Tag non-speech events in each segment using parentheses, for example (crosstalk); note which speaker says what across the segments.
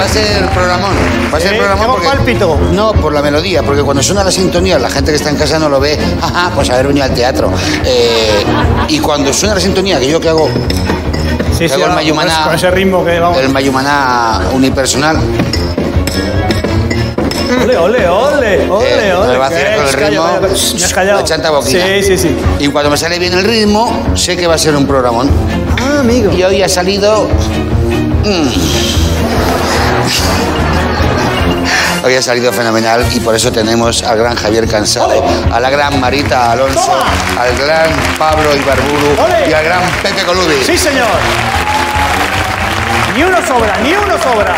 Speaker 1: Este
Speaker 2: Va a ser programón. Va a ser
Speaker 1: Eh,
Speaker 2: programón
Speaker 1: tengo
Speaker 2: porque...
Speaker 1: pálpito.
Speaker 2: No, por la melodía, porque cuando suena la sintonía, la gente que está en casa no lo ve. (laughs) Ajá, pues haber venido al teatro. Eh, y cuando suena la sintonía, que yo que hago
Speaker 1: Sí,
Speaker 2: Luego el
Speaker 1: vamos,
Speaker 2: Mayumaná.
Speaker 1: Con ese ritmo que vamos.
Speaker 2: el mayumaná unipersonal,
Speaker 1: Eh, Ole, ole, ole, ole,
Speaker 2: eh,
Speaker 1: ole.
Speaker 2: me va a hacer
Speaker 1: que
Speaker 2: con el
Speaker 1: es, calla,
Speaker 2: ritmo.
Speaker 1: vaya, Me has callado.
Speaker 2: La chanta boquilla.
Speaker 1: Sí, sí, sí.
Speaker 2: y cuando me sale bien el ritmo, sé que va a ser un programón.
Speaker 1: Ah, amigo.
Speaker 2: Y hoy ha salido. mm. Hoy ha salido fenomenal y por eso tenemos al gran Javier Cansado, a la gran Marita Alonso,
Speaker 1: Toma.
Speaker 2: al gran Pablo Ibarburu
Speaker 1: Ole.
Speaker 2: y al gran Pepe Colubi.
Speaker 1: Sí, señor. Ni uno sobra, ni uno sobra.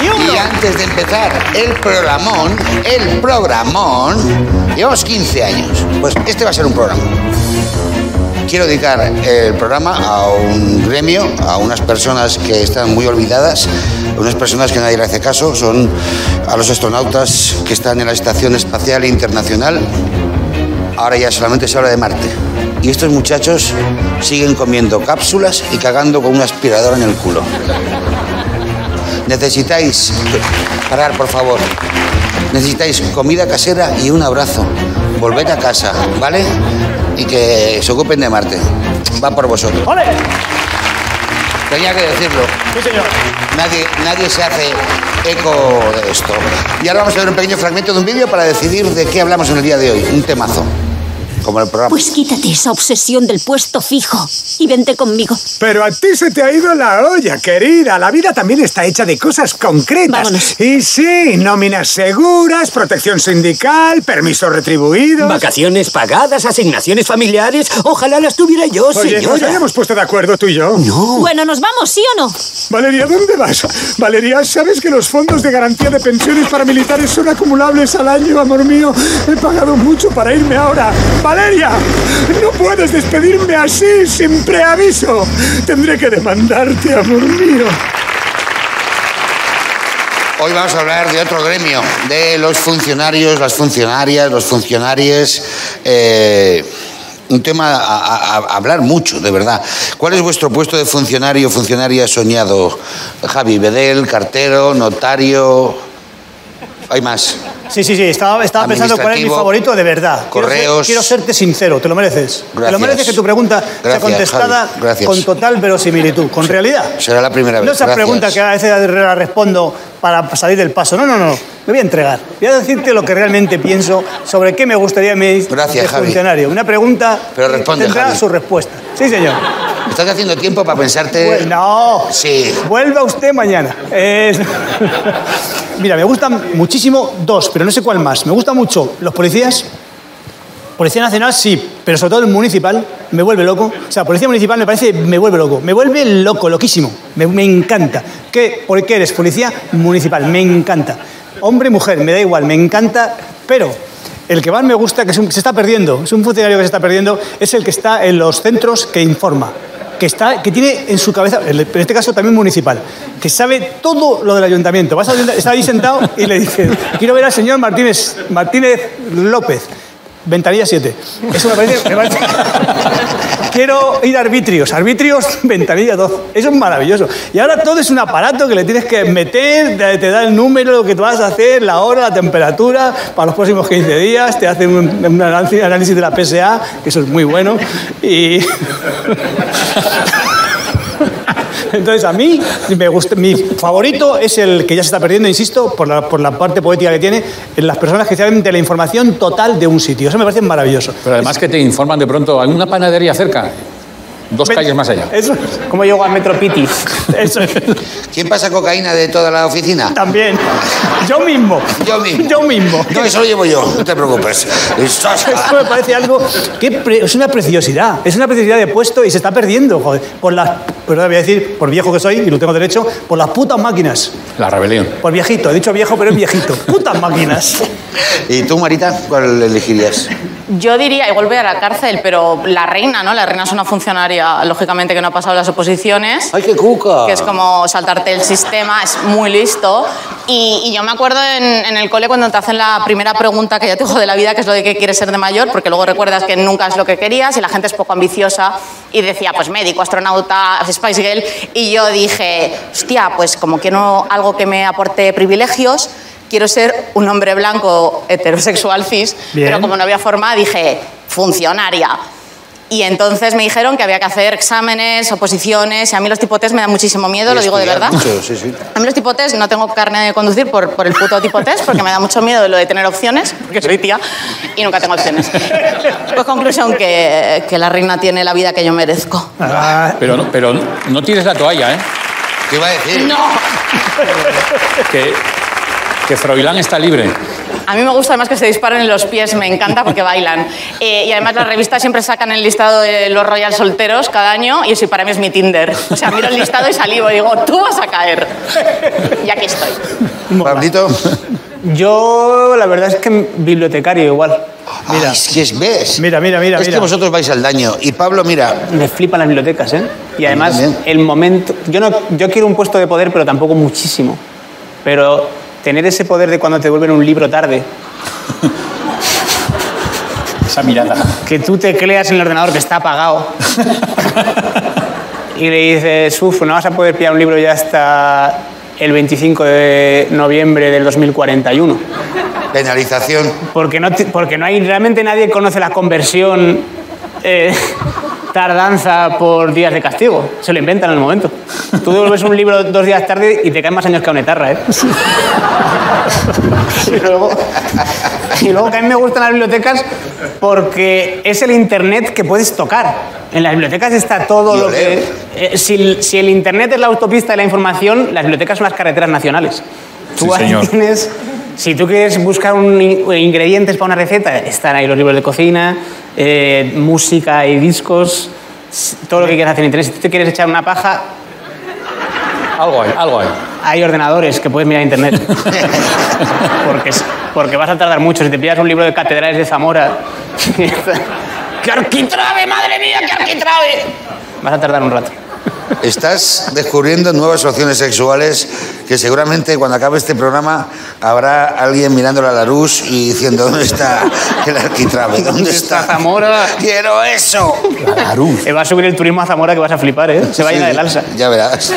Speaker 1: Ni uno.
Speaker 2: Y antes de empezar el programón, el programón, llevamos 15 años. Pues este va a ser un programa. Quiero dedicar el programa a un gremio, a unas personas que están muy olvidadas, a unas personas que nadie le hace caso, son a los astronautas que están en la Estación Espacial Internacional. Ahora ya solamente se habla de Marte. Y estos muchachos siguen comiendo cápsulas y cagando con una aspiradora en el culo. Necesitáis parar, por favor. Necesitáis comida casera y un abrazo. Volved a casa, ¿vale? Y que se ocupen de Marte. Va por vosotros.
Speaker 1: Ole.
Speaker 2: Tenía que decirlo.
Speaker 1: Sí, señor.
Speaker 2: Nadie, nadie se hace eco de esto. Y ahora vamos a ver un pequeño fragmento de un vídeo para decidir de qué hablamos en el día de hoy. Un temazo. Como el programa.
Speaker 3: Pues quítate esa obsesión del puesto fijo y vente conmigo.
Speaker 4: Pero a ti se te ha ido la olla, querida. La vida también está hecha de cosas concretas.
Speaker 3: Vámonos.
Speaker 4: Y sí, nóminas seguras, protección sindical, permisos retribuidos.
Speaker 5: Vacaciones pagadas, asignaciones familiares. Ojalá las tuviera yo,
Speaker 4: Oye, nos
Speaker 5: señora.
Speaker 4: habíamos puesto de acuerdo tú y yo.
Speaker 2: Oh.
Speaker 3: Bueno, ¿nos vamos, sí o no?
Speaker 4: Valeria, ¿dónde vas? Valeria, ¿sabes que los fondos de garantía de pensiones paramilitares son acumulables al año, amor mío? He pagado mucho para irme ahora. Valeria, no puedes despedirme así, sin preaviso. Tendré que demandarte, amor mío.
Speaker 2: Hoy vamos a hablar de otro gremio, de los funcionarios, las funcionarias, los funcionarios. eh, un tema a, a- a hablar mucho, de verdad. ¿Cuál es vuestro puesto de funcionario o funcionaria soñado? Javi Bedel, cartero, notario. Hay más.
Speaker 1: Sí, sí, sí. Estaba, estaba pensando cuál es mi
Speaker 2: Administrativo,
Speaker 1: favorito de verdad. Quiero ser- Quiero,
Speaker 2: correos.
Speaker 1: serte sincero, te lo mereces. Te lo
Speaker 2: Gracias.
Speaker 1: mereces que tu pregunta sea
Speaker 2: Gracias,
Speaker 1: contestada
Speaker 2: Javi, gracias.
Speaker 1: con total verosimilitud, con realidad.
Speaker 2: Será la primera vez.
Speaker 1: No esas
Speaker 2: gracias.
Speaker 1: preguntas que a veces la respondo para salir del paso. No, no, no. Me voy a entregar. Voy a decirte lo que realmente pienso sobre qué me gustaría mi
Speaker 2: Gracias,
Speaker 1: de
Speaker 2: Javi.
Speaker 1: funcionario. Una pregunta
Speaker 2: Pero responde,
Speaker 1: tendrá
Speaker 2: Javi.
Speaker 1: su respuesta. Sí, señor.
Speaker 2: Estás haciendo tiempo para pensarte.
Speaker 1: Pues, no.
Speaker 2: Sí.
Speaker 1: Vuelva usted mañana. Es- (laughs) Mira, me gustan muchísimo dos, pero no sé cuál más. Me gusta mucho los policías. Policía Nacional sí, pero sobre todo el municipal me vuelve loco. O sea, Policía Municipal me parece, me vuelve loco. Me vuelve loco, loquísimo. Me, me encanta. ¿Qué, ¿Por qué eres policía municipal? Me encanta. Hombre, mujer, me da igual, me encanta. Pero el que más me gusta, que, es un- que se está perdiendo, es un funcionario que se está perdiendo, es el que está en los centros que informa. Que, está, que tiene en su cabeza, en este caso también municipal, que sabe todo lo del ayuntamiento. Vas al ayuntamiento- está ahí sentado y le dice, quiero ver al señor Martínez, Martínez López. Ventanilla 7. Eso me parece. me parece- Quiero ir a arbitrios. Arbitrios, ventanilla 2. Eso es maravilloso. Y ahora todo es un aparato que le tienes que meter, te, te da el número, lo que tú vas a hacer, la hora, la temperatura, para los próximos 15 días, te hacen un, un análisis análisis de la PSA, que eso es muy bueno. Y. (laughs) Entonces, a mí, me gusta, mi favorito es el que ya se está perdiendo, insisto, por la, por la parte poética que tiene, las personas que saben de la información total de un sitio. Eso me parece maravilloso.
Speaker 6: Pero además que te informan de pronto, hay una panadería cerca, dos calles más allá.
Speaker 1: Eso,
Speaker 7: ¿Cómo llego a Metropiti?
Speaker 1: eso
Speaker 2: ¿Quién pasa cocaína de toda la oficina?
Speaker 1: también. Yo mismo.
Speaker 2: Yo mismo.
Speaker 1: Yo mismo.
Speaker 2: No, eso lo llevo yo, no te
Speaker 1: (laughs)
Speaker 2: preocupes.
Speaker 1: Eso me parece algo que pre- es una preciosidad. Es una preciosidad de puesto y se está perdiendo, joder. Por las, perdón, voy a decir, por viejo que soy, y lo tengo derecho, por las putas máquinas.
Speaker 6: La rebelión.
Speaker 1: Por viejito, he dicho viejo, pero es viejito. Putas máquinas.
Speaker 2: ¿Y tú, Marita, cuál elegirías?
Speaker 8: Yo diría, igual voy a la cárcel, pero la reina, ¿no? La reina es una funcionaria, lógicamente, que no ha pasado las oposiciones.
Speaker 2: ¡Ay, qué cuca!
Speaker 8: que es como saltarte el sistema, es muy listo, Y, y yo me acuerdo en, en el cole cuando te hacen la primera pregunta que ya te digo de la vida, que es lo de qué quieres ser de mayor, porque luego recuerdas que nunca es lo que querías y la gente es poco ambiciosa y decía, pues médico, astronauta, Spice Girl. Y yo dije, hostia, pues como quiero algo que me aporte privilegios, quiero ser un hombre blanco heterosexual cis,
Speaker 1: Bien.
Speaker 8: pero como no había forma dije, funcionaria. Y entonces me dijeron que había que hacer exámenes, oposiciones, y a mí los tipotes me dan muchísimo miedo,
Speaker 2: Y
Speaker 8: lo digo de
Speaker 2: estudiar
Speaker 8: verdad.
Speaker 2: mucho, sí, sí.
Speaker 8: A mí los tipo test no tengo carne de conducir por, por el puto tipo test, porque me da mucho miedo lo de tener opciones, porque soy tía y nunca tengo opciones. Pues conclusión, que, que la reina tiene la vida que yo merezco.
Speaker 1: Ah,
Speaker 6: Pero no, pero no tires la toalla, ¿eh?
Speaker 2: ¿Qué iba a decir?
Speaker 8: ¡No!
Speaker 6: Que, que Froilán está libre.
Speaker 8: A mí me gusta además que se disparen en los pies, me encanta porque bailan. Eh, y además las revistas siempre sacan el listado de los Royal Solteros cada año y ese para mí es mi Tinder. O sea, miro el listado y salivo y digo, tú vas a caer. Y aquí estoy.
Speaker 2: Pablito.
Speaker 7: Yo, la verdad es que bibliotecario igual.
Speaker 2: Mira. es que es, ¿ves?
Speaker 1: Mira, mira, mira,
Speaker 2: Es que
Speaker 1: mira.
Speaker 2: vosotros vais al daño. Y Pablo, mira,
Speaker 7: Me flipan las bibliotecas, ¿eh? Y además,
Speaker 2: también.
Speaker 7: el momento. Yo, no, yo quiero un puesto de poder, pero tampoco muchísimo. Pero tener ese poder de cuando te devuelven un libro tarde,
Speaker 6: Esa mirada.
Speaker 7: que tú tecleas en el ordenador que
Speaker 1: (laughs)
Speaker 7: está apagado y le dices, uff, no vas a poder pillar un libro ya hasta el 25 de noviembre del 2041.
Speaker 2: penalización.
Speaker 7: Porque no, ti- porque no hay, realmente nadie conoce la conversión eh, tardanza por días de castigo. Se lo inventan en el momento. Tú devuelves un libro dos días tarde y te caen más años que a una etarra, ¿eh? Y luego, y luego que a mí me gustan las bibliotecas porque es el internet que puedes tocar. En las bibliotecas está todo
Speaker 2: Y
Speaker 7: lo que...
Speaker 2: oler.
Speaker 7: eh, si, el- si el internet es la autopista de la información, las bibliotecas son las carreteras nacionales. Tú
Speaker 6: Sí,
Speaker 7: ahí
Speaker 6: señor.
Speaker 7: tienes- Si tú quieres buscar un in- ingredientes para una receta, están ahí los libros de cocina, eh, música y discos, s- todo lo que quieras hacer en internet. Si tú te quieres echar una paja,
Speaker 6: Algo hay, algo hay.
Speaker 7: hay ordenadores que puedes mirar en internet.
Speaker 5: (laughs)
Speaker 7: porque, es- porque vas a tardar mucho. Si te pillas un libro de catedrales
Speaker 5: (laughs)
Speaker 7: de Zamora. ¡Qué arquitrabe, madre mía, qué arquitrabe! Vas a tardar un rato.
Speaker 2: Estás descubriendo nuevas opciones sexuales que seguramente cuando acabe este programa habrá alguien mirando a la luz y diciendo ¿dónde está el arquitrabe? ¿Dónde está
Speaker 7: Zamora?
Speaker 2: Quiero eso.
Speaker 7: Eh, va a subir el turismo a Zamora que vas a flipar, ¿eh? Se va a llenar el alza.
Speaker 2: Ya verás.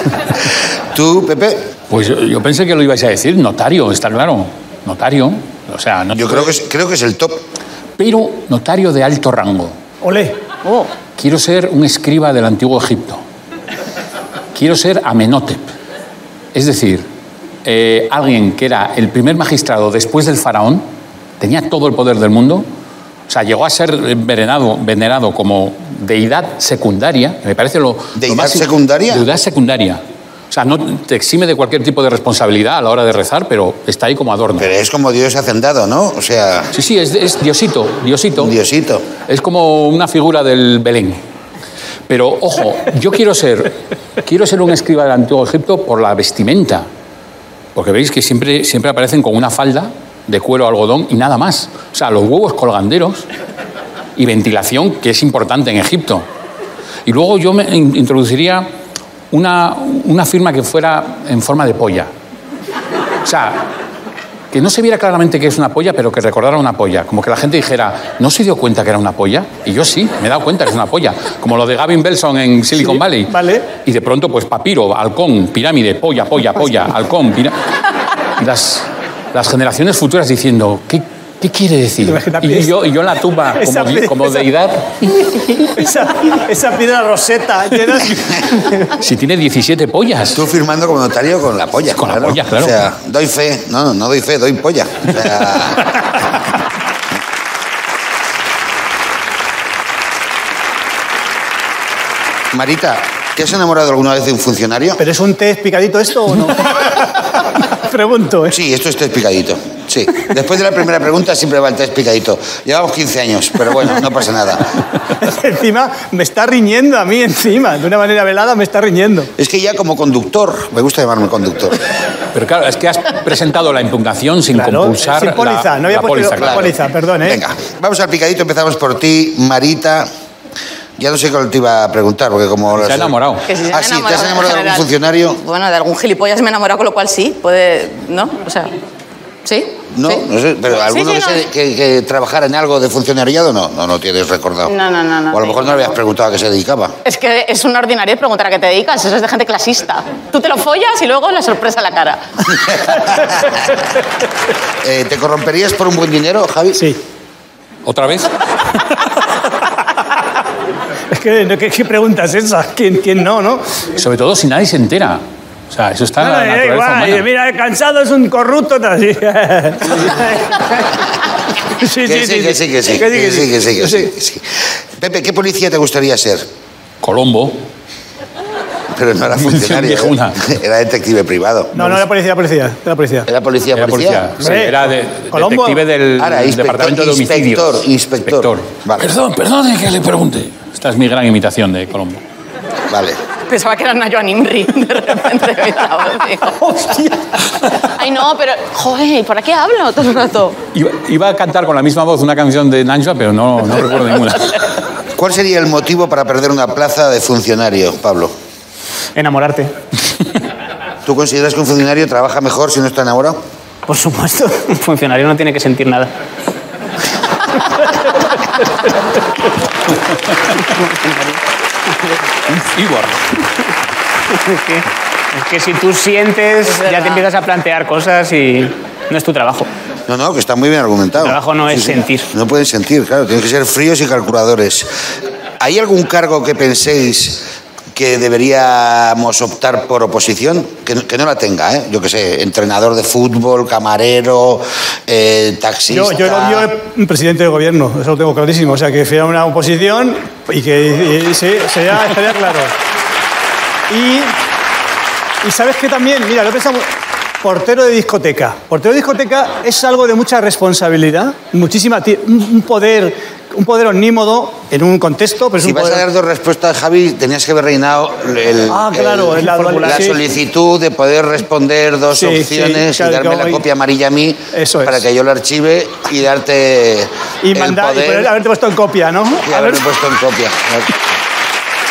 Speaker 2: Tú, Pepe,
Speaker 6: Pues yo, yo pensé que lo ibais a decir, notario, está claro. Notario. O sea, no,
Speaker 2: yo creo que es, creo que es el top.
Speaker 6: pero notario de alto rango.
Speaker 7: (laughs)
Speaker 1: Olé.
Speaker 6: Oh, Quiero ser un escriba del antiguo Egipto. Quiero ser Amenhotep. Es decir, eh, alguien que era el primer magistrado después del faraón, tenía todo el poder del mundo, o sea, llegó a ser venerado, venerado como deidad secundaria, que me parece lo, lo
Speaker 2: ¿Deidad
Speaker 6: más-
Speaker 2: secundaria?
Speaker 6: Deidad secundaria. O sea, no te exime de cualquier tipo de responsabilidad a la hora de rezar, pero está ahí como adorno.
Speaker 2: Pero es como Dios hacendado, ¿no? O sea,
Speaker 6: Sí, sí, es, es Diosito, Diosito.
Speaker 2: un diosito.
Speaker 6: Es como una figura del Belén. Pero ojo, yo quiero ser, quiero ser un escriba del Antiguo Egipto por la vestimenta. Porque veis que siempre, siempre aparecen con una falda de cuero algodón y nada más. O sea, los huevos colganderos y ventilación, que es importante en Egipto. Y luego yo me in- introduciría una, una firma que fuera en forma de polla. O sea, que no se viera claramente que es una polla, pero que recordara una polla. Como que la gente dijera, ¿no se dio cuenta que era una polla? Y yo sí, me he dado cuenta que es una polla. Como lo de Gavin Belson en Silicon
Speaker 1: Sí,
Speaker 6: Valley.
Speaker 1: vale.
Speaker 6: Y de pronto, pues papiro, halcón, pirámide, polla, polla, polla, halcón, pirámide. Las, las generaciones futuras diciendo, ¿qué, qué quiere decir?
Speaker 1: Imagínate
Speaker 6: Y
Speaker 1: eso.
Speaker 6: yo, y yo en la tumba,
Speaker 1: Esa
Speaker 6: como, di-
Speaker 1: pi-
Speaker 6: como
Speaker 1: esa-
Speaker 6: deidad,
Speaker 1: Esa, esa piedra roseta. llena-
Speaker 6: si tiene 17 pollas.
Speaker 2: Tú firmando como notario con la polla.
Speaker 6: Con la polla, claro.
Speaker 2: O sea, doy fe. No, no, no doy fe, doy polla. O sea... (laughs) Marita, ¿te has enamorado alguna vez de un funcionario?
Speaker 1: (laughs) ¿Pero es un test picadito esto o
Speaker 7: (laughs)
Speaker 1: no? Pregunto, ¿eh?
Speaker 2: Sí, esto es test picadito. Sí. Después de la primera pregunta siempre va el test picadito. Llevamos 15 años, pero bueno, no pasa nada.
Speaker 1: (laughs) encima me está riñendo a mí encima. De una manera velada me está riñendo.
Speaker 2: Es que ya como conductor, me gusta llamarme conductor.
Speaker 6: Pero claro, es que has presentado la impugnación sin
Speaker 1: Claro,
Speaker 6: compulsar
Speaker 1: sin póliza,
Speaker 6: la,
Speaker 1: no había
Speaker 6: la
Speaker 1: puesto
Speaker 6: póliza.
Speaker 1: la póliza, perdón, ¿eh?
Speaker 2: Venga, vamos al picadito, empezamos por ti, Marita. Ya no sé qué te iba a preguntar, porque como...
Speaker 6: Se ha enamorado.
Speaker 8: Que si se
Speaker 2: Ah,
Speaker 8: han
Speaker 2: sí, ¿te has
Speaker 8: en
Speaker 2: enamorado de algún
Speaker 8: general.
Speaker 2: funcionario?
Speaker 8: Bueno, de algún gilipollas me he enamorado, con lo cual sí, puede, ¿no? O sea, ¿sí?
Speaker 2: No,
Speaker 8: ¿Sí?
Speaker 2: no sé, pero
Speaker 8: Sí,
Speaker 2: alguno
Speaker 8: sí,
Speaker 2: que,
Speaker 8: no.
Speaker 2: se- que- que trabajara en algo de funcionariado, no, no, no tienes recordado.
Speaker 8: No, no, no, no.
Speaker 2: o a lo mejor no le habías preguntado a qué se dedicaba.
Speaker 8: Es que es un ordinario preguntar a qué te dedicas, eso es de gente clasista. Tú te lo follas y luego la sorpresa a la cara. (laughs)
Speaker 2: Eh, ¿Te corromperías por un buen dinero, Javi?
Speaker 1: Sí.
Speaker 6: ¿Otra vez?
Speaker 1: Es que, no, ¿qué, qué pregunta es esa? ¿Quién, quién no, no?
Speaker 6: Sobre todo si nadie se entera. O sea, eso está en la
Speaker 1: Ah, da
Speaker 6: naturaleza
Speaker 1: igual,
Speaker 6: humana.
Speaker 1: dice, mira, el cansado es un corrupto. tal,
Speaker 2: (laughs)
Speaker 1: sí. Sí,
Speaker 2: Que sí, que sí, que sí, que sí, que sí, que sí, que sí. Pepe, ¿qué policía te gustaría ser?
Speaker 6: Colombo.
Speaker 2: Pero no
Speaker 6: (laughs)
Speaker 2: era funcionario, ¿eh?
Speaker 6: Viejo una.
Speaker 2: era detective privado.
Speaker 1: No, no, la policía, la policía, la policía.
Speaker 2: Era policía,
Speaker 6: Era
Speaker 2: policía.
Speaker 6: policía. Sí,
Speaker 1: Hombre,
Speaker 6: era de-
Speaker 1: Colombo.
Speaker 6: detective del
Speaker 2: Ahora, inspector,
Speaker 6: departamento de homicidios.
Speaker 2: inspector, inspector. Vale.
Speaker 6: Perdón, perdone que le pregunte. Esta es mi gran imitación de Colombo.
Speaker 2: Vale.
Speaker 8: Pensaba que era una Joan Imri, (laughs) de repente. me estaba
Speaker 2: (laughs)
Speaker 8: diciendo. Ay, no, pero, joder, ¿y ¿para qué hablo todo el rato?
Speaker 6: Iba, iba a cantar con la misma voz una canción de Nanjua, pero no, no recuerdo
Speaker 2: (laughs)
Speaker 6: ninguna.
Speaker 2: ¿Cuál sería el motivo para perder una plaza de funcionario, Pablo?
Speaker 7: Enamorarte.
Speaker 2: ¿Tú consideras que un funcionario trabaja mejor si no está enamorado?
Speaker 7: Por supuesto. (laughs) Un funcionario no tiene que sentir nada.
Speaker 6: Igor.
Speaker 7: Es que, es que si tú sientes, ya
Speaker 8: verdad.
Speaker 7: te empiezas a plantear cosas y no es tu trabajo.
Speaker 2: No, no, que está muy bien argumentado.
Speaker 7: El trabajo no es sentir.
Speaker 2: No pueden sentir, claro, tienen que ser fríos y calculadores. ¿Hay algún cargo que penséis que deberíamos optar por oposición? Que, no- que no la tenga, ¿eh? Yo que sé, entrenador de fútbol, camarero, eh, taxista.
Speaker 1: Yo, yo lo vio el presidente de gobierno, eso lo tengo clarísimo. O sea, que fuera una oposición y que y- y- sí, sería, estaría claro. Y, y sabes que también, mira, lo he pensado, portero de discoteca. Portero de discoteca es algo de mucha responsabilidad, muchísima, ti- un un poder, un poder omnímodo en un contexto, pero es
Speaker 2: Si
Speaker 1: un
Speaker 2: vas a
Speaker 1: poder-
Speaker 2: dar dos respuestas, Javi, tenías que haber reinado el,
Speaker 1: Ah, claro,
Speaker 2: el-
Speaker 1: la dualidad, sí.
Speaker 2: solicitud de poder responder dos
Speaker 1: Sí, sí,
Speaker 2: opciones
Speaker 1: claro,
Speaker 2: y darme
Speaker 1: como
Speaker 2: la
Speaker 1: hay-
Speaker 2: copia amarilla a mí
Speaker 1: Eso es.
Speaker 2: para que yo la archive y darte
Speaker 1: y
Speaker 2: el
Speaker 1: mandar y
Speaker 2: poder
Speaker 1: poner- haberte puesto en copia, ¿no?
Speaker 2: y
Speaker 1: A ver-
Speaker 2: haberme puesto en copia.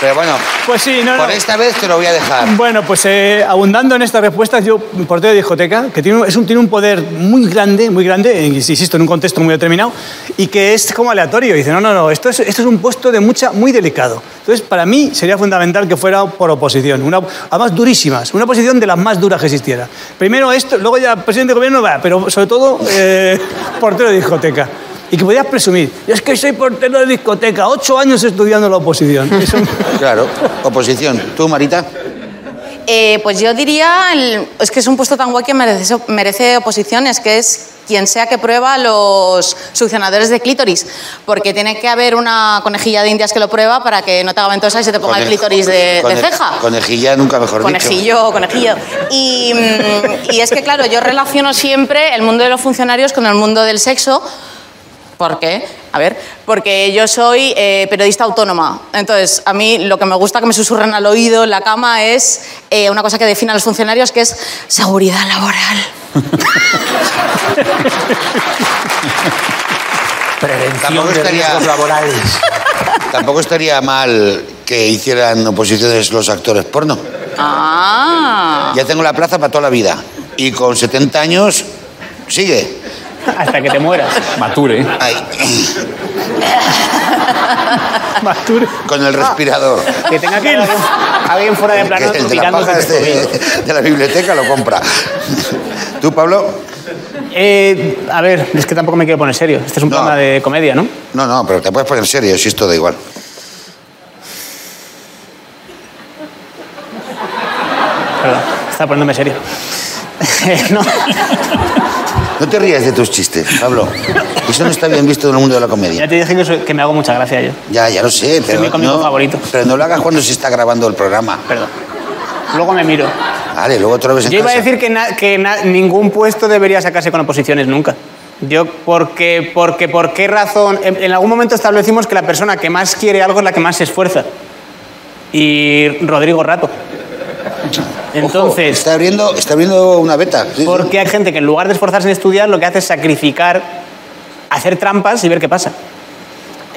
Speaker 2: Pero bueno,
Speaker 1: pues sí, no, no.
Speaker 2: por esta vez te lo voy a dejar.
Speaker 1: Bueno, pues eh, abundando en estas respuestas, yo, un portero de discoteca, que tiene, un- es un, tiene un poder muy grande, muy grande, en- insisto, en un contexto muy determinado, y que es como aleatorio. Dice, no, no, no, esto es, esto es un puesto de mucha, muy delicado. Entonces, para mí sería fundamental que fuera por oposición, una, además durísimas, una oposición de las más duras que existiera. Primero esto, luego ya presidente de gobierno, va, pero sobre todo eh, (laughs) portero de discoteca. Y que podías presumir, yo es que soy portero de discoteca, ocho años estudiando la
Speaker 7: (laughs)
Speaker 1: oposición. Eso-
Speaker 2: Claro, oposición. ¿Tú, Marita?
Speaker 8: Eh, pues yo diría, el- es que es un puesto tan guay que merece, merece oposiciones, que es quien sea que prueba los succionadores de clítoris, porque tiene que haber una conejilla de indias que lo prueba para que no te haga ventosa y se te ponga el
Speaker 2: Conej-
Speaker 8: clítoris de, de
Speaker 2: cone-
Speaker 8: ceja.
Speaker 2: Conejilla, nunca mejor dicho.
Speaker 8: Conejillo, conejillo. Y, mm, y es que, claro, yo relaciono siempre el mundo de los funcionarios con el mundo del sexo. ¿Por qué? A ver, porque yo soy eh, periodista autónoma. Entonces, a mí lo que me gusta que me susurren al oído en la cama es eh, una cosa que define a los funcionarios, que es seguridad laboral.
Speaker 2: Tampoco
Speaker 5: Prevención de
Speaker 2: estaría-
Speaker 5: riesgos laborales.
Speaker 2: Tampoco estaría mal que hicieran oposiciones los actores porno.
Speaker 8: Ah.
Speaker 2: Ya tengo la plaza para toda la vida. Y con 70 años, sigue.
Speaker 7: Hasta que te mueras.
Speaker 6: Mature.
Speaker 2: Ahí,
Speaker 1: Mastur-
Speaker 2: con el respirador.
Speaker 7: Que tenga
Speaker 1: (laughs)
Speaker 7: que haber alguien fuera de plano
Speaker 2: Que el de las
Speaker 7: picándote
Speaker 2: pajas
Speaker 7: el tobillo.
Speaker 2: de, de la biblioteca lo compra. ¿Tú, Pablo?
Speaker 7: Eh, a ver, es que tampoco me quiero poner serio. Este es un
Speaker 2: No.
Speaker 7: programa de comedia, ¿no?
Speaker 2: No, no, pero te puedes poner serio, si esto da igual.
Speaker 7: Perdón, estaba poniéndome serio. Eh, no.
Speaker 2: No te rías de tus chistes, Pablo. Eso no está bien visto en el mundo de la
Speaker 7: (laughs) Ya
Speaker 2: comedia.
Speaker 7: te dije que, soy- que me hago mucha gracia yo.
Speaker 2: Ya, ya lo sé, pero
Speaker 7: mi cómico
Speaker 2: no,
Speaker 7: favorito.
Speaker 2: pero no lo hagas cuando se está grabando el programa.
Speaker 7: Perdón. Luego me miro.
Speaker 2: Vale, luego otra vez en
Speaker 7: Yo iba a
Speaker 2: casa.
Speaker 7: decir que, na- que na- ningún puesto debería sacarse con oposiciones nunca. Yo, porque, porque, ¿por qué razón? En, en algún momento establecimos que la persona que más quiere algo es la que más se esfuerza. Y Rodrigo Rato. Entonces,
Speaker 2: Está abriendo, está abriendo una beta. sí, sí.
Speaker 7: porque hay gente que en lugar de esforzarse en estudiar, lo que hace es sacrificar, hacer trampas y ver qué pasa.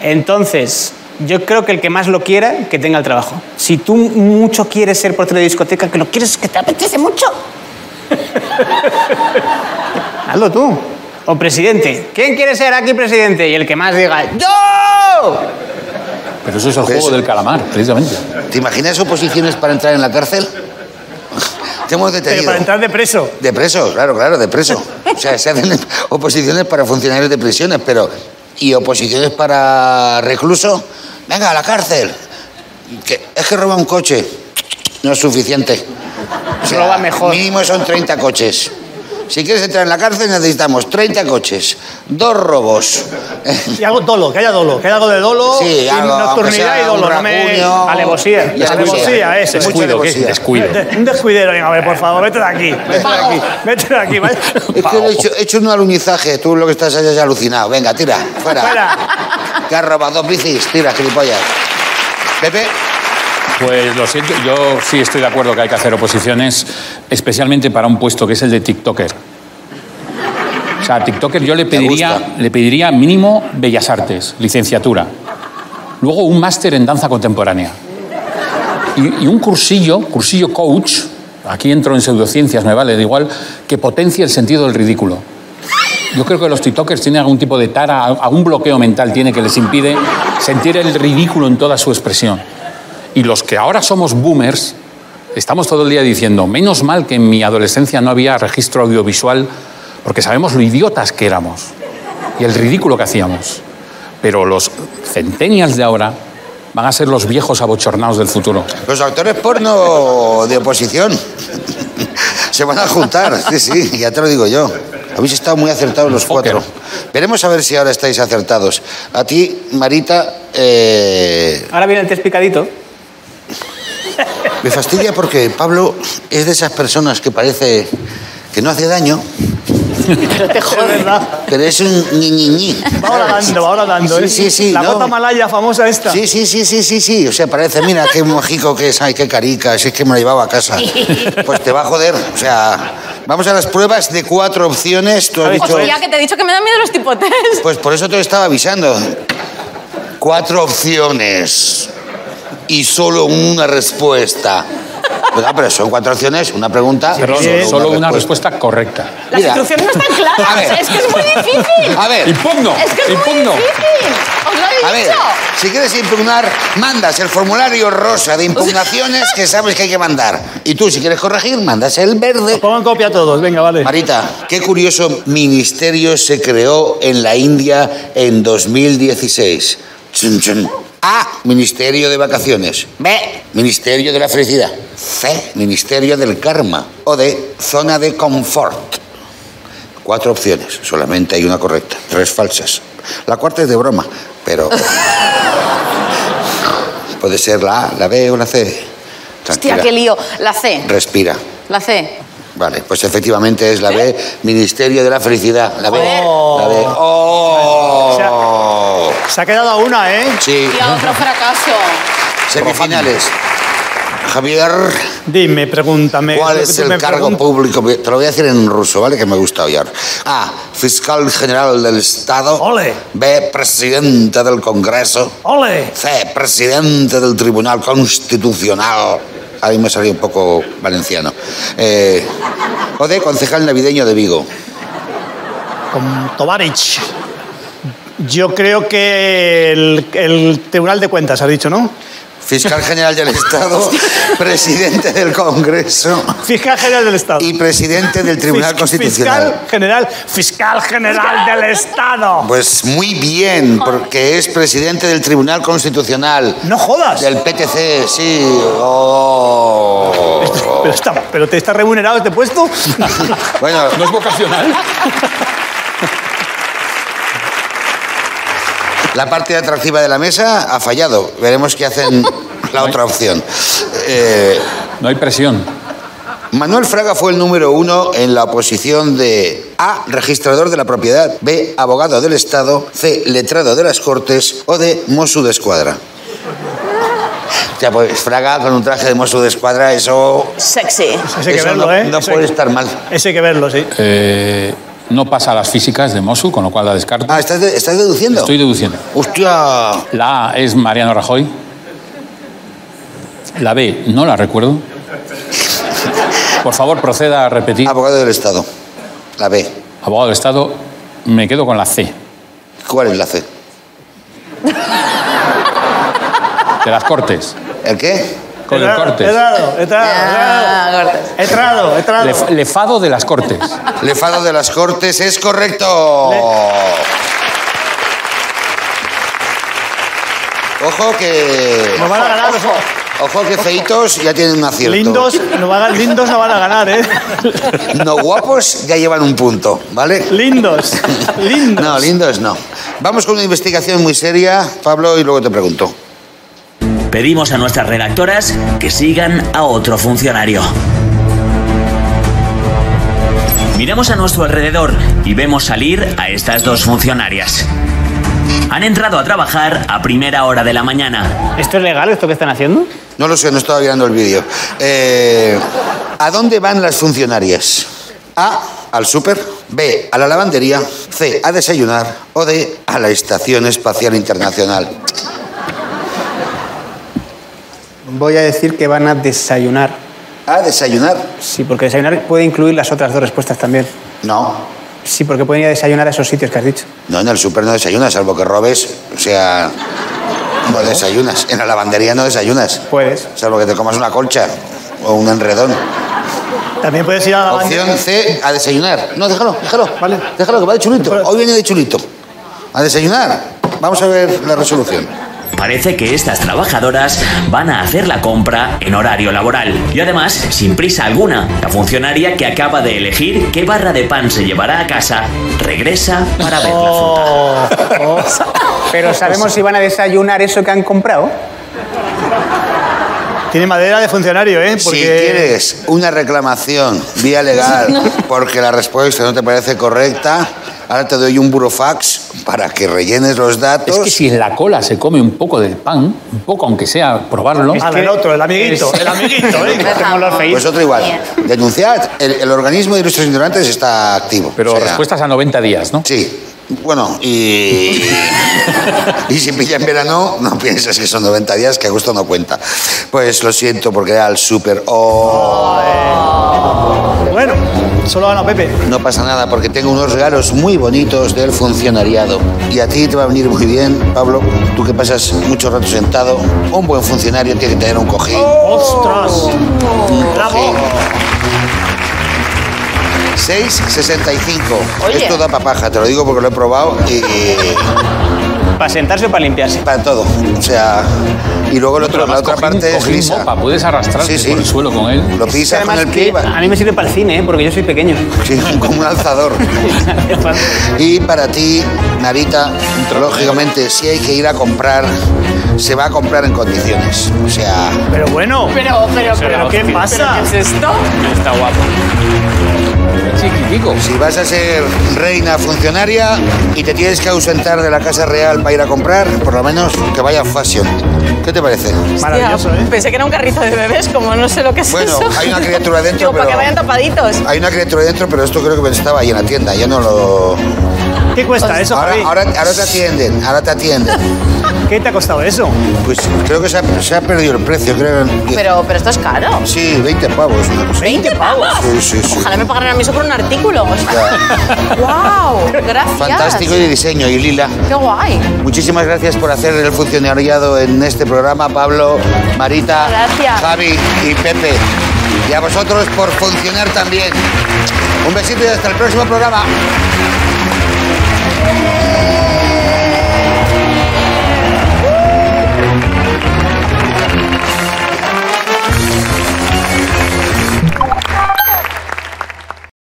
Speaker 7: Entonces, Yo creo que el que más lo quiera, que tenga el trabajo. Si tú mucho quieres ser portero de discoteca, que lo quieres, que te apetece mucho.
Speaker 2: (laughs)
Speaker 7: Hazlo tú. O presidente. ¿Quién quiere ser aquí presidente? Y el que más diga, ¡Yo!
Speaker 6: Pero eso es
Speaker 2: Pero
Speaker 6: el juego
Speaker 2: Pues eso-
Speaker 6: del calamar, precisamente.
Speaker 2: ¿Te imaginas oposiciones para entrar en la cárcel? Te hemos
Speaker 1: Pero
Speaker 2: detenido.
Speaker 1: para entrar de preso.
Speaker 2: De preso, claro, claro,
Speaker 1: (laughs)
Speaker 2: de preso. O sea, se hacen oposiciones para funcionarios de prisiones, pero. ¿Y oposiciones para recluso? Venga, a la cárcel. Que- es que roba un coche. No es suficiente. O sea,
Speaker 7: Roba mejor.
Speaker 2: Mínimo son 30 coches. Si quieres entrar en la cárcel necesitamos 30 coches, dos robos.
Speaker 1: Y algo dolo, que haya dolo, que haya algo de dolo,
Speaker 2: Sí,
Speaker 1: y
Speaker 2: algo, aunque
Speaker 1: nocturnidad
Speaker 2: sea
Speaker 1: y dolo,
Speaker 2: un
Speaker 1: no me...
Speaker 2: rasguño.
Speaker 7: Alevosía.
Speaker 2: Y
Speaker 1: Alevosía, ese.
Speaker 2: Mucha
Speaker 6: Descuido, ¿qué es?
Speaker 2: alevosía.
Speaker 6: Descuido.
Speaker 7: (laughs)
Speaker 1: Un descuidero, venga, a ver, por favor, vete de
Speaker 2: (laughs)
Speaker 1: aquí. Vete de aquí, vete de aquí, vaya.
Speaker 2: Es que he hecho, he hecho un alunizaje, tú lo que estás es alucinado. Venga, tira, fuera.
Speaker 1: Fuera.
Speaker 2: Que has robado dos bicis, tira, gilipollas. Pepe,
Speaker 6: Pues lo siento, yo sí estoy de acuerdo que hay que hacer oposiciones, especialmente para un puesto que es el de TikToker. O sea, a TikToker yo le pediría,
Speaker 2: gusta.
Speaker 6: le pediría mínimo Bellas Artes, licenciatura. Luego un máster en danza contemporánea. Y, y un cursillo, cursillo coach, aquí entro en pseudociencias, me vale, da igual, que potencie el sentido del ridículo. Yo creo que los TikTokers tienen algún tipo de tara, algún bloqueo mental tiene que les impide sentir el ridículo en toda su expresión. Y los que ahora somos boomers, estamos todo el día diciendo, menos mal que en mi adolescencia no había registro audiovisual, porque sabemos lo idiotas que éramos y el ridículo que hacíamos. Pero los centenials de ahora van a ser los viejos abochornados del futuro.
Speaker 2: los actores porno de oposición se van a juntar, sí, sí, ya te lo digo yo. Habéis estado muy acertados los cuatro. Veremos a ver si ahora estáis acertados. A ti, Marita, eh,
Speaker 7: Ahora viene el test picadito.
Speaker 2: me fastidia porque Pablo es de esas personas que parece que no hace daño,
Speaker 1: Es verdad.
Speaker 2: pero es un ñiñiñi.
Speaker 1: Va ahora dando, va ahora dando.
Speaker 2: Sí,
Speaker 1: ¿eh?
Speaker 2: sí, sí,
Speaker 1: La
Speaker 2: no.
Speaker 1: gota malaya famosa esta.
Speaker 2: Sí, sí, sí, sí, sí, sí. O sea, parece, mira, qué mojico que es, ay, qué carica, si es que me lo llevaba a casa. Pues te va a joder. O sea, vamos a las pruebas de cuatro opciones. Tú has dicho,
Speaker 8: Hostia, que te he dicho que me dan miedo los tipotes.
Speaker 2: pues por eso te estaba avisando. Cuatro opciones y solo una respuesta. Pues, ah, pero son cuatro opciones, una pregunta.
Speaker 6: Perdón,
Speaker 2: solo una
Speaker 6: solo una respuesta correcta.
Speaker 8: Las
Speaker 2: Mira.
Speaker 8: instrucciones no están
Speaker 2: A ver.
Speaker 8: claras. Es que es muy difícil.
Speaker 6: Eh.
Speaker 2: A ver,
Speaker 6: ¡Impugno!
Speaker 8: Es que es
Speaker 6: ¡Impugno!
Speaker 8: muy difícil. Os lo he
Speaker 2: A ver,
Speaker 8: dicho.
Speaker 2: si quieres impugnar, mandas el formulario rosa de impugnaciones que sabes que hay que mandar. Y tú, si quieres corregir, mandas el verde.
Speaker 1: Pongan copia a todos, venga, vale.
Speaker 2: Marita, qué curioso ministerio se creó en la India en 2016. Chun, chun. A. Ministerio de Vacaciones. B. Ministerio de la Felicidad. C. Ministerio del Karma. O D. Zona de Confort. Cuatro opciones, solamente hay una correcta, tres falsas. La cuarta es de broma,
Speaker 8: (laughs)
Speaker 2: pero. Puede ser la A, la B o la C.
Speaker 8: Hostia,
Speaker 2: Tranquila.
Speaker 8: qué lío. La C.
Speaker 2: Respira.
Speaker 8: La
Speaker 2: (laughs)
Speaker 8: C.
Speaker 2: Vale, pues efectivamente es la B, Ministerio de la Felicidad. La B.
Speaker 8: Joder.
Speaker 2: La B. ¡Oh!
Speaker 1: Se ha quedado a una, ¿eh?
Speaker 2: Sí,
Speaker 8: Y a otro fracaso.
Speaker 2: semifinales. Javier,
Speaker 1: Dime, pregúntame.
Speaker 2: ¿cuál
Speaker 1: Eh, lo que
Speaker 2: es
Speaker 1: tú
Speaker 2: el
Speaker 1: me
Speaker 2: cargo
Speaker 1: preguntas.
Speaker 2: público? Te lo voy a decir en ruso, ¿vale? Que me gusta oír. A. Fiscal General del Estado.
Speaker 1: Ole.
Speaker 2: B. Presidente del Congreso.
Speaker 1: ¡Ole!
Speaker 2: C. Presidente del Tribunal Constitucional. Ahí me salió un poco valenciano. Eh, o D. Concejal Navideño de Vigo.
Speaker 1: Con Tovarich. Yo creo que el, el Tribunal de Cuentas, has dicho, ¿no?
Speaker 2: Fiscal General del
Speaker 1: (laughs)
Speaker 2: Estado, presidente del Congreso
Speaker 1: Fiscal General del Estado.
Speaker 2: y presidente del Tribunal
Speaker 1: Fis-
Speaker 2: Constitucional.
Speaker 1: Fiscal General, Fiscal General del Estado.
Speaker 2: Pues muy bien, porque es presidente del Tribunal Constitucional.
Speaker 1: No jodas.
Speaker 2: Del PTC, sí. Oh.
Speaker 1: Pero, está- pero te está remunerado este
Speaker 2: (laughs)
Speaker 1: puesto.
Speaker 2: Bueno,
Speaker 6: ¿No es vocacional?
Speaker 2: la parte atractiva de la mesa ha fallado. Veremos qué hacen la otra opción. Eh,
Speaker 6: No hay presión.
Speaker 2: Manuel Fraga fue el número uno en la oposición de A. Registrador de la propiedad, B. Abogado del Estado, C. Letrado de las Cortes o D. Mosu de Escuadra. O sea, pues Fraga con un traje de Mosu de Escuadra, eso,
Speaker 8: Sexy.
Speaker 1: Ese hay que
Speaker 2: eso
Speaker 1: verlo,
Speaker 2: no,
Speaker 1: ¿eh?
Speaker 2: no
Speaker 1: Ese hay
Speaker 2: puede
Speaker 1: que-
Speaker 2: estar mal.
Speaker 1: Ese hay que verlo, sí.
Speaker 6: Eh, No pasa a las físicas de Mosul, con lo cual la descarto.
Speaker 2: Ah, ¿estás, de- estás deduciendo?
Speaker 6: Estoy deduciendo.
Speaker 2: Hostia.
Speaker 6: La A es Mariano Rajoy. La B no la recuerdo. Por favor, proceda a repetir.
Speaker 2: Abogado del Estado. La B.
Speaker 6: Abogado del Estado, me quedo con la C.
Speaker 2: ¿Cuál es la C?
Speaker 6: De las Cortes.
Speaker 2: ¿El qué?
Speaker 6: Con el Cortes.
Speaker 1: Etrado,
Speaker 8: Ah,
Speaker 1: etrado,
Speaker 8: Cortes.
Speaker 1: etrado. Etrado,
Speaker 6: Lef- lefado de las Cortes.
Speaker 2: Lefado de las Cortes es correcto. Ojo que.
Speaker 1: Nos van a ganar los
Speaker 2: Ojo que feitos ya tienen un acierto.
Speaker 1: lindos. Nos van a, lindos no van a ganar, ¿eh?
Speaker 2: No guapos ya llevan un punto, ¿vale?
Speaker 1: Lindos. Lindos.
Speaker 2: No, lindos no. Vamos con una investigación muy seria, Pablo, y luego te pregunto.
Speaker 9: Pedimos a nuestras redactoras que sigan a otro funcionario. Miramos a nuestro alrededor y vemos salir a estas dos funcionarias. Han entrado a trabajar a primera hora de la mañana.
Speaker 7: ¿Esto es legal, esto que están haciendo?
Speaker 2: No lo sé, no estaba mirando el vídeo. Eh, ¿A dónde van las funcionarias? A. Al súper. B. A la lavandería. C. A desayunar. O D. A la Estación Espacial Internacional.
Speaker 7: Voy a decir que van a desayunar.
Speaker 2: ¿A desayunar?
Speaker 7: Sí, porque desayunar puede incluir las otras dos respuestas también.
Speaker 2: No.
Speaker 7: Sí, porque pueden ir a desayunar a esos sitios que has dicho.
Speaker 2: No, en el súper no desayunas, salvo que robes. O sea, no desayunas. En la lavandería no desayunas.
Speaker 7: Puedes.
Speaker 2: Salvo que te comas una colcha o un enredón.
Speaker 1: También puedes ir a la
Speaker 2: Opción
Speaker 1: banca.
Speaker 2: C, a desayunar. No, déjalo, déjalo.
Speaker 1: Vale.
Speaker 2: Déjalo, que va de chulito. Hoy viene de chulito. A desayunar. Vamos a ver la resolución.
Speaker 9: Parece que estas trabajadoras van a hacer la compra en horario laboral. Y además, sin prisa alguna, la funcionaria que acaba de elegir qué barra de pan se llevará a casa regresa para ver la fruta.
Speaker 7: Pero sabemos Pues si van a desayunar eso que han comprado.
Speaker 1: Tiene madera de funcionario, ¿eh? Porque
Speaker 2: Si quieres una reclamación vía
Speaker 6: (laughs)
Speaker 2: legal porque la respuesta no te parece correcta, ahora te doy un burofax para que rellenes los datos.
Speaker 6: Es que si en la cola se come un poco del pan, un poco aunque sea probarlo,
Speaker 1: Ah, del otro, el amiguito, el amiguito, ¿eh?
Speaker 7: Como los feístos.
Speaker 2: Vosotros Pues igual. Denunciad. El, el organismo de nuestros ignorantes está activo.
Speaker 6: pero
Speaker 2: O sea,
Speaker 6: respuestas a 90 días, ¿no?
Speaker 2: Sí. Bueno, y. y si pilla en verano, no pienses que son 90 días, que agosto no cuenta. Pues lo siento, porque era el súper. Oh,
Speaker 1: Bueno, solo gana Pepe.
Speaker 2: no pasa nada, porque tengo unos regalos muy bonitos del funcionariado. Y a ti te va a venir muy bien, Pablo. Tú que pasas mucho rato sentado, un buen funcionario tiene que tener un cojín.
Speaker 1: ¡Ostras! ¡Bravo!
Speaker 2: 665.
Speaker 8: Oye.
Speaker 2: Esto da papaja, te lo digo porque lo he probado y,
Speaker 7: ¿Para sentarse o para limpiarse?
Speaker 2: para todo. O sea, y luego el otro,
Speaker 6: Pero
Speaker 2: la
Speaker 6: además
Speaker 2: otra
Speaker 6: cojín-
Speaker 2: parte es
Speaker 6: cojín
Speaker 2: lisa.
Speaker 6: mopa, puedes arrastrarte
Speaker 2: Sí, sí.
Speaker 6: por el suelo con él.
Speaker 2: Lo pisas con
Speaker 7: Además
Speaker 2: el
Speaker 7: que
Speaker 2: pie y va-
Speaker 7: a mí me sirve para el cine, ¿eh? porque yo soy pequeño.
Speaker 2: sí, (laughs) como un alzador. Y para ti, Narita, lógicamente, si hay que ir a comprar, se va a comprar en condiciones. O sea,
Speaker 1: Pero bueno,
Speaker 8: Pero, pero,
Speaker 1: ¿pero qué pasa?
Speaker 8: ¿Qué es esto?
Speaker 6: Está guapo. Chiquitico.
Speaker 2: si vas a ser reina funcionaria y te tienes que ausentar de la Casa Real para ir a comprar, por lo menos que vaya fashion. ¿Qué te parece?
Speaker 1: Maravilloso,
Speaker 8: Hostia,
Speaker 1: ¿eh?
Speaker 8: Pensé que era un carrito de bebés, como no sé lo que es
Speaker 2: Bueno,
Speaker 8: eso.
Speaker 2: hay una criatura dentro,
Speaker 8: Digo, para
Speaker 2: pero-
Speaker 8: que vayan tapaditos.
Speaker 2: Hay una criatura dentro, pero esto creo que estaba ahí en la tienda. Ya no lo.
Speaker 1: ¿Qué cuesta eso,
Speaker 2: Ahora,
Speaker 1: Javi?
Speaker 2: ahora, ahora te atienden, ahora te atienden.
Speaker 1: ¿Qué te ha costado eso?
Speaker 2: Pues creo que se ha, se ha perdido el precio, creo. que-
Speaker 8: Pero, pero esto es caro.
Speaker 2: Sí, 20 pavos. una cosa.
Speaker 8: ¿20 pavos?
Speaker 2: Sí, sí, sí.
Speaker 8: Ojalá me pagaran a mí eso por un artículo. (laughs)
Speaker 2: Ya.
Speaker 8: ¡Wow! Gracias.
Speaker 2: Fantástico de diseño y Lila.
Speaker 8: ¡Qué guay!
Speaker 2: Muchísimas gracias por hacer el funcionariado en este programa, Pablo, Marita,
Speaker 8: Gracias.
Speaker 2: Javi y Pepe. Y a vosotros por funcionar también. Un besito y hasta el próximo programa.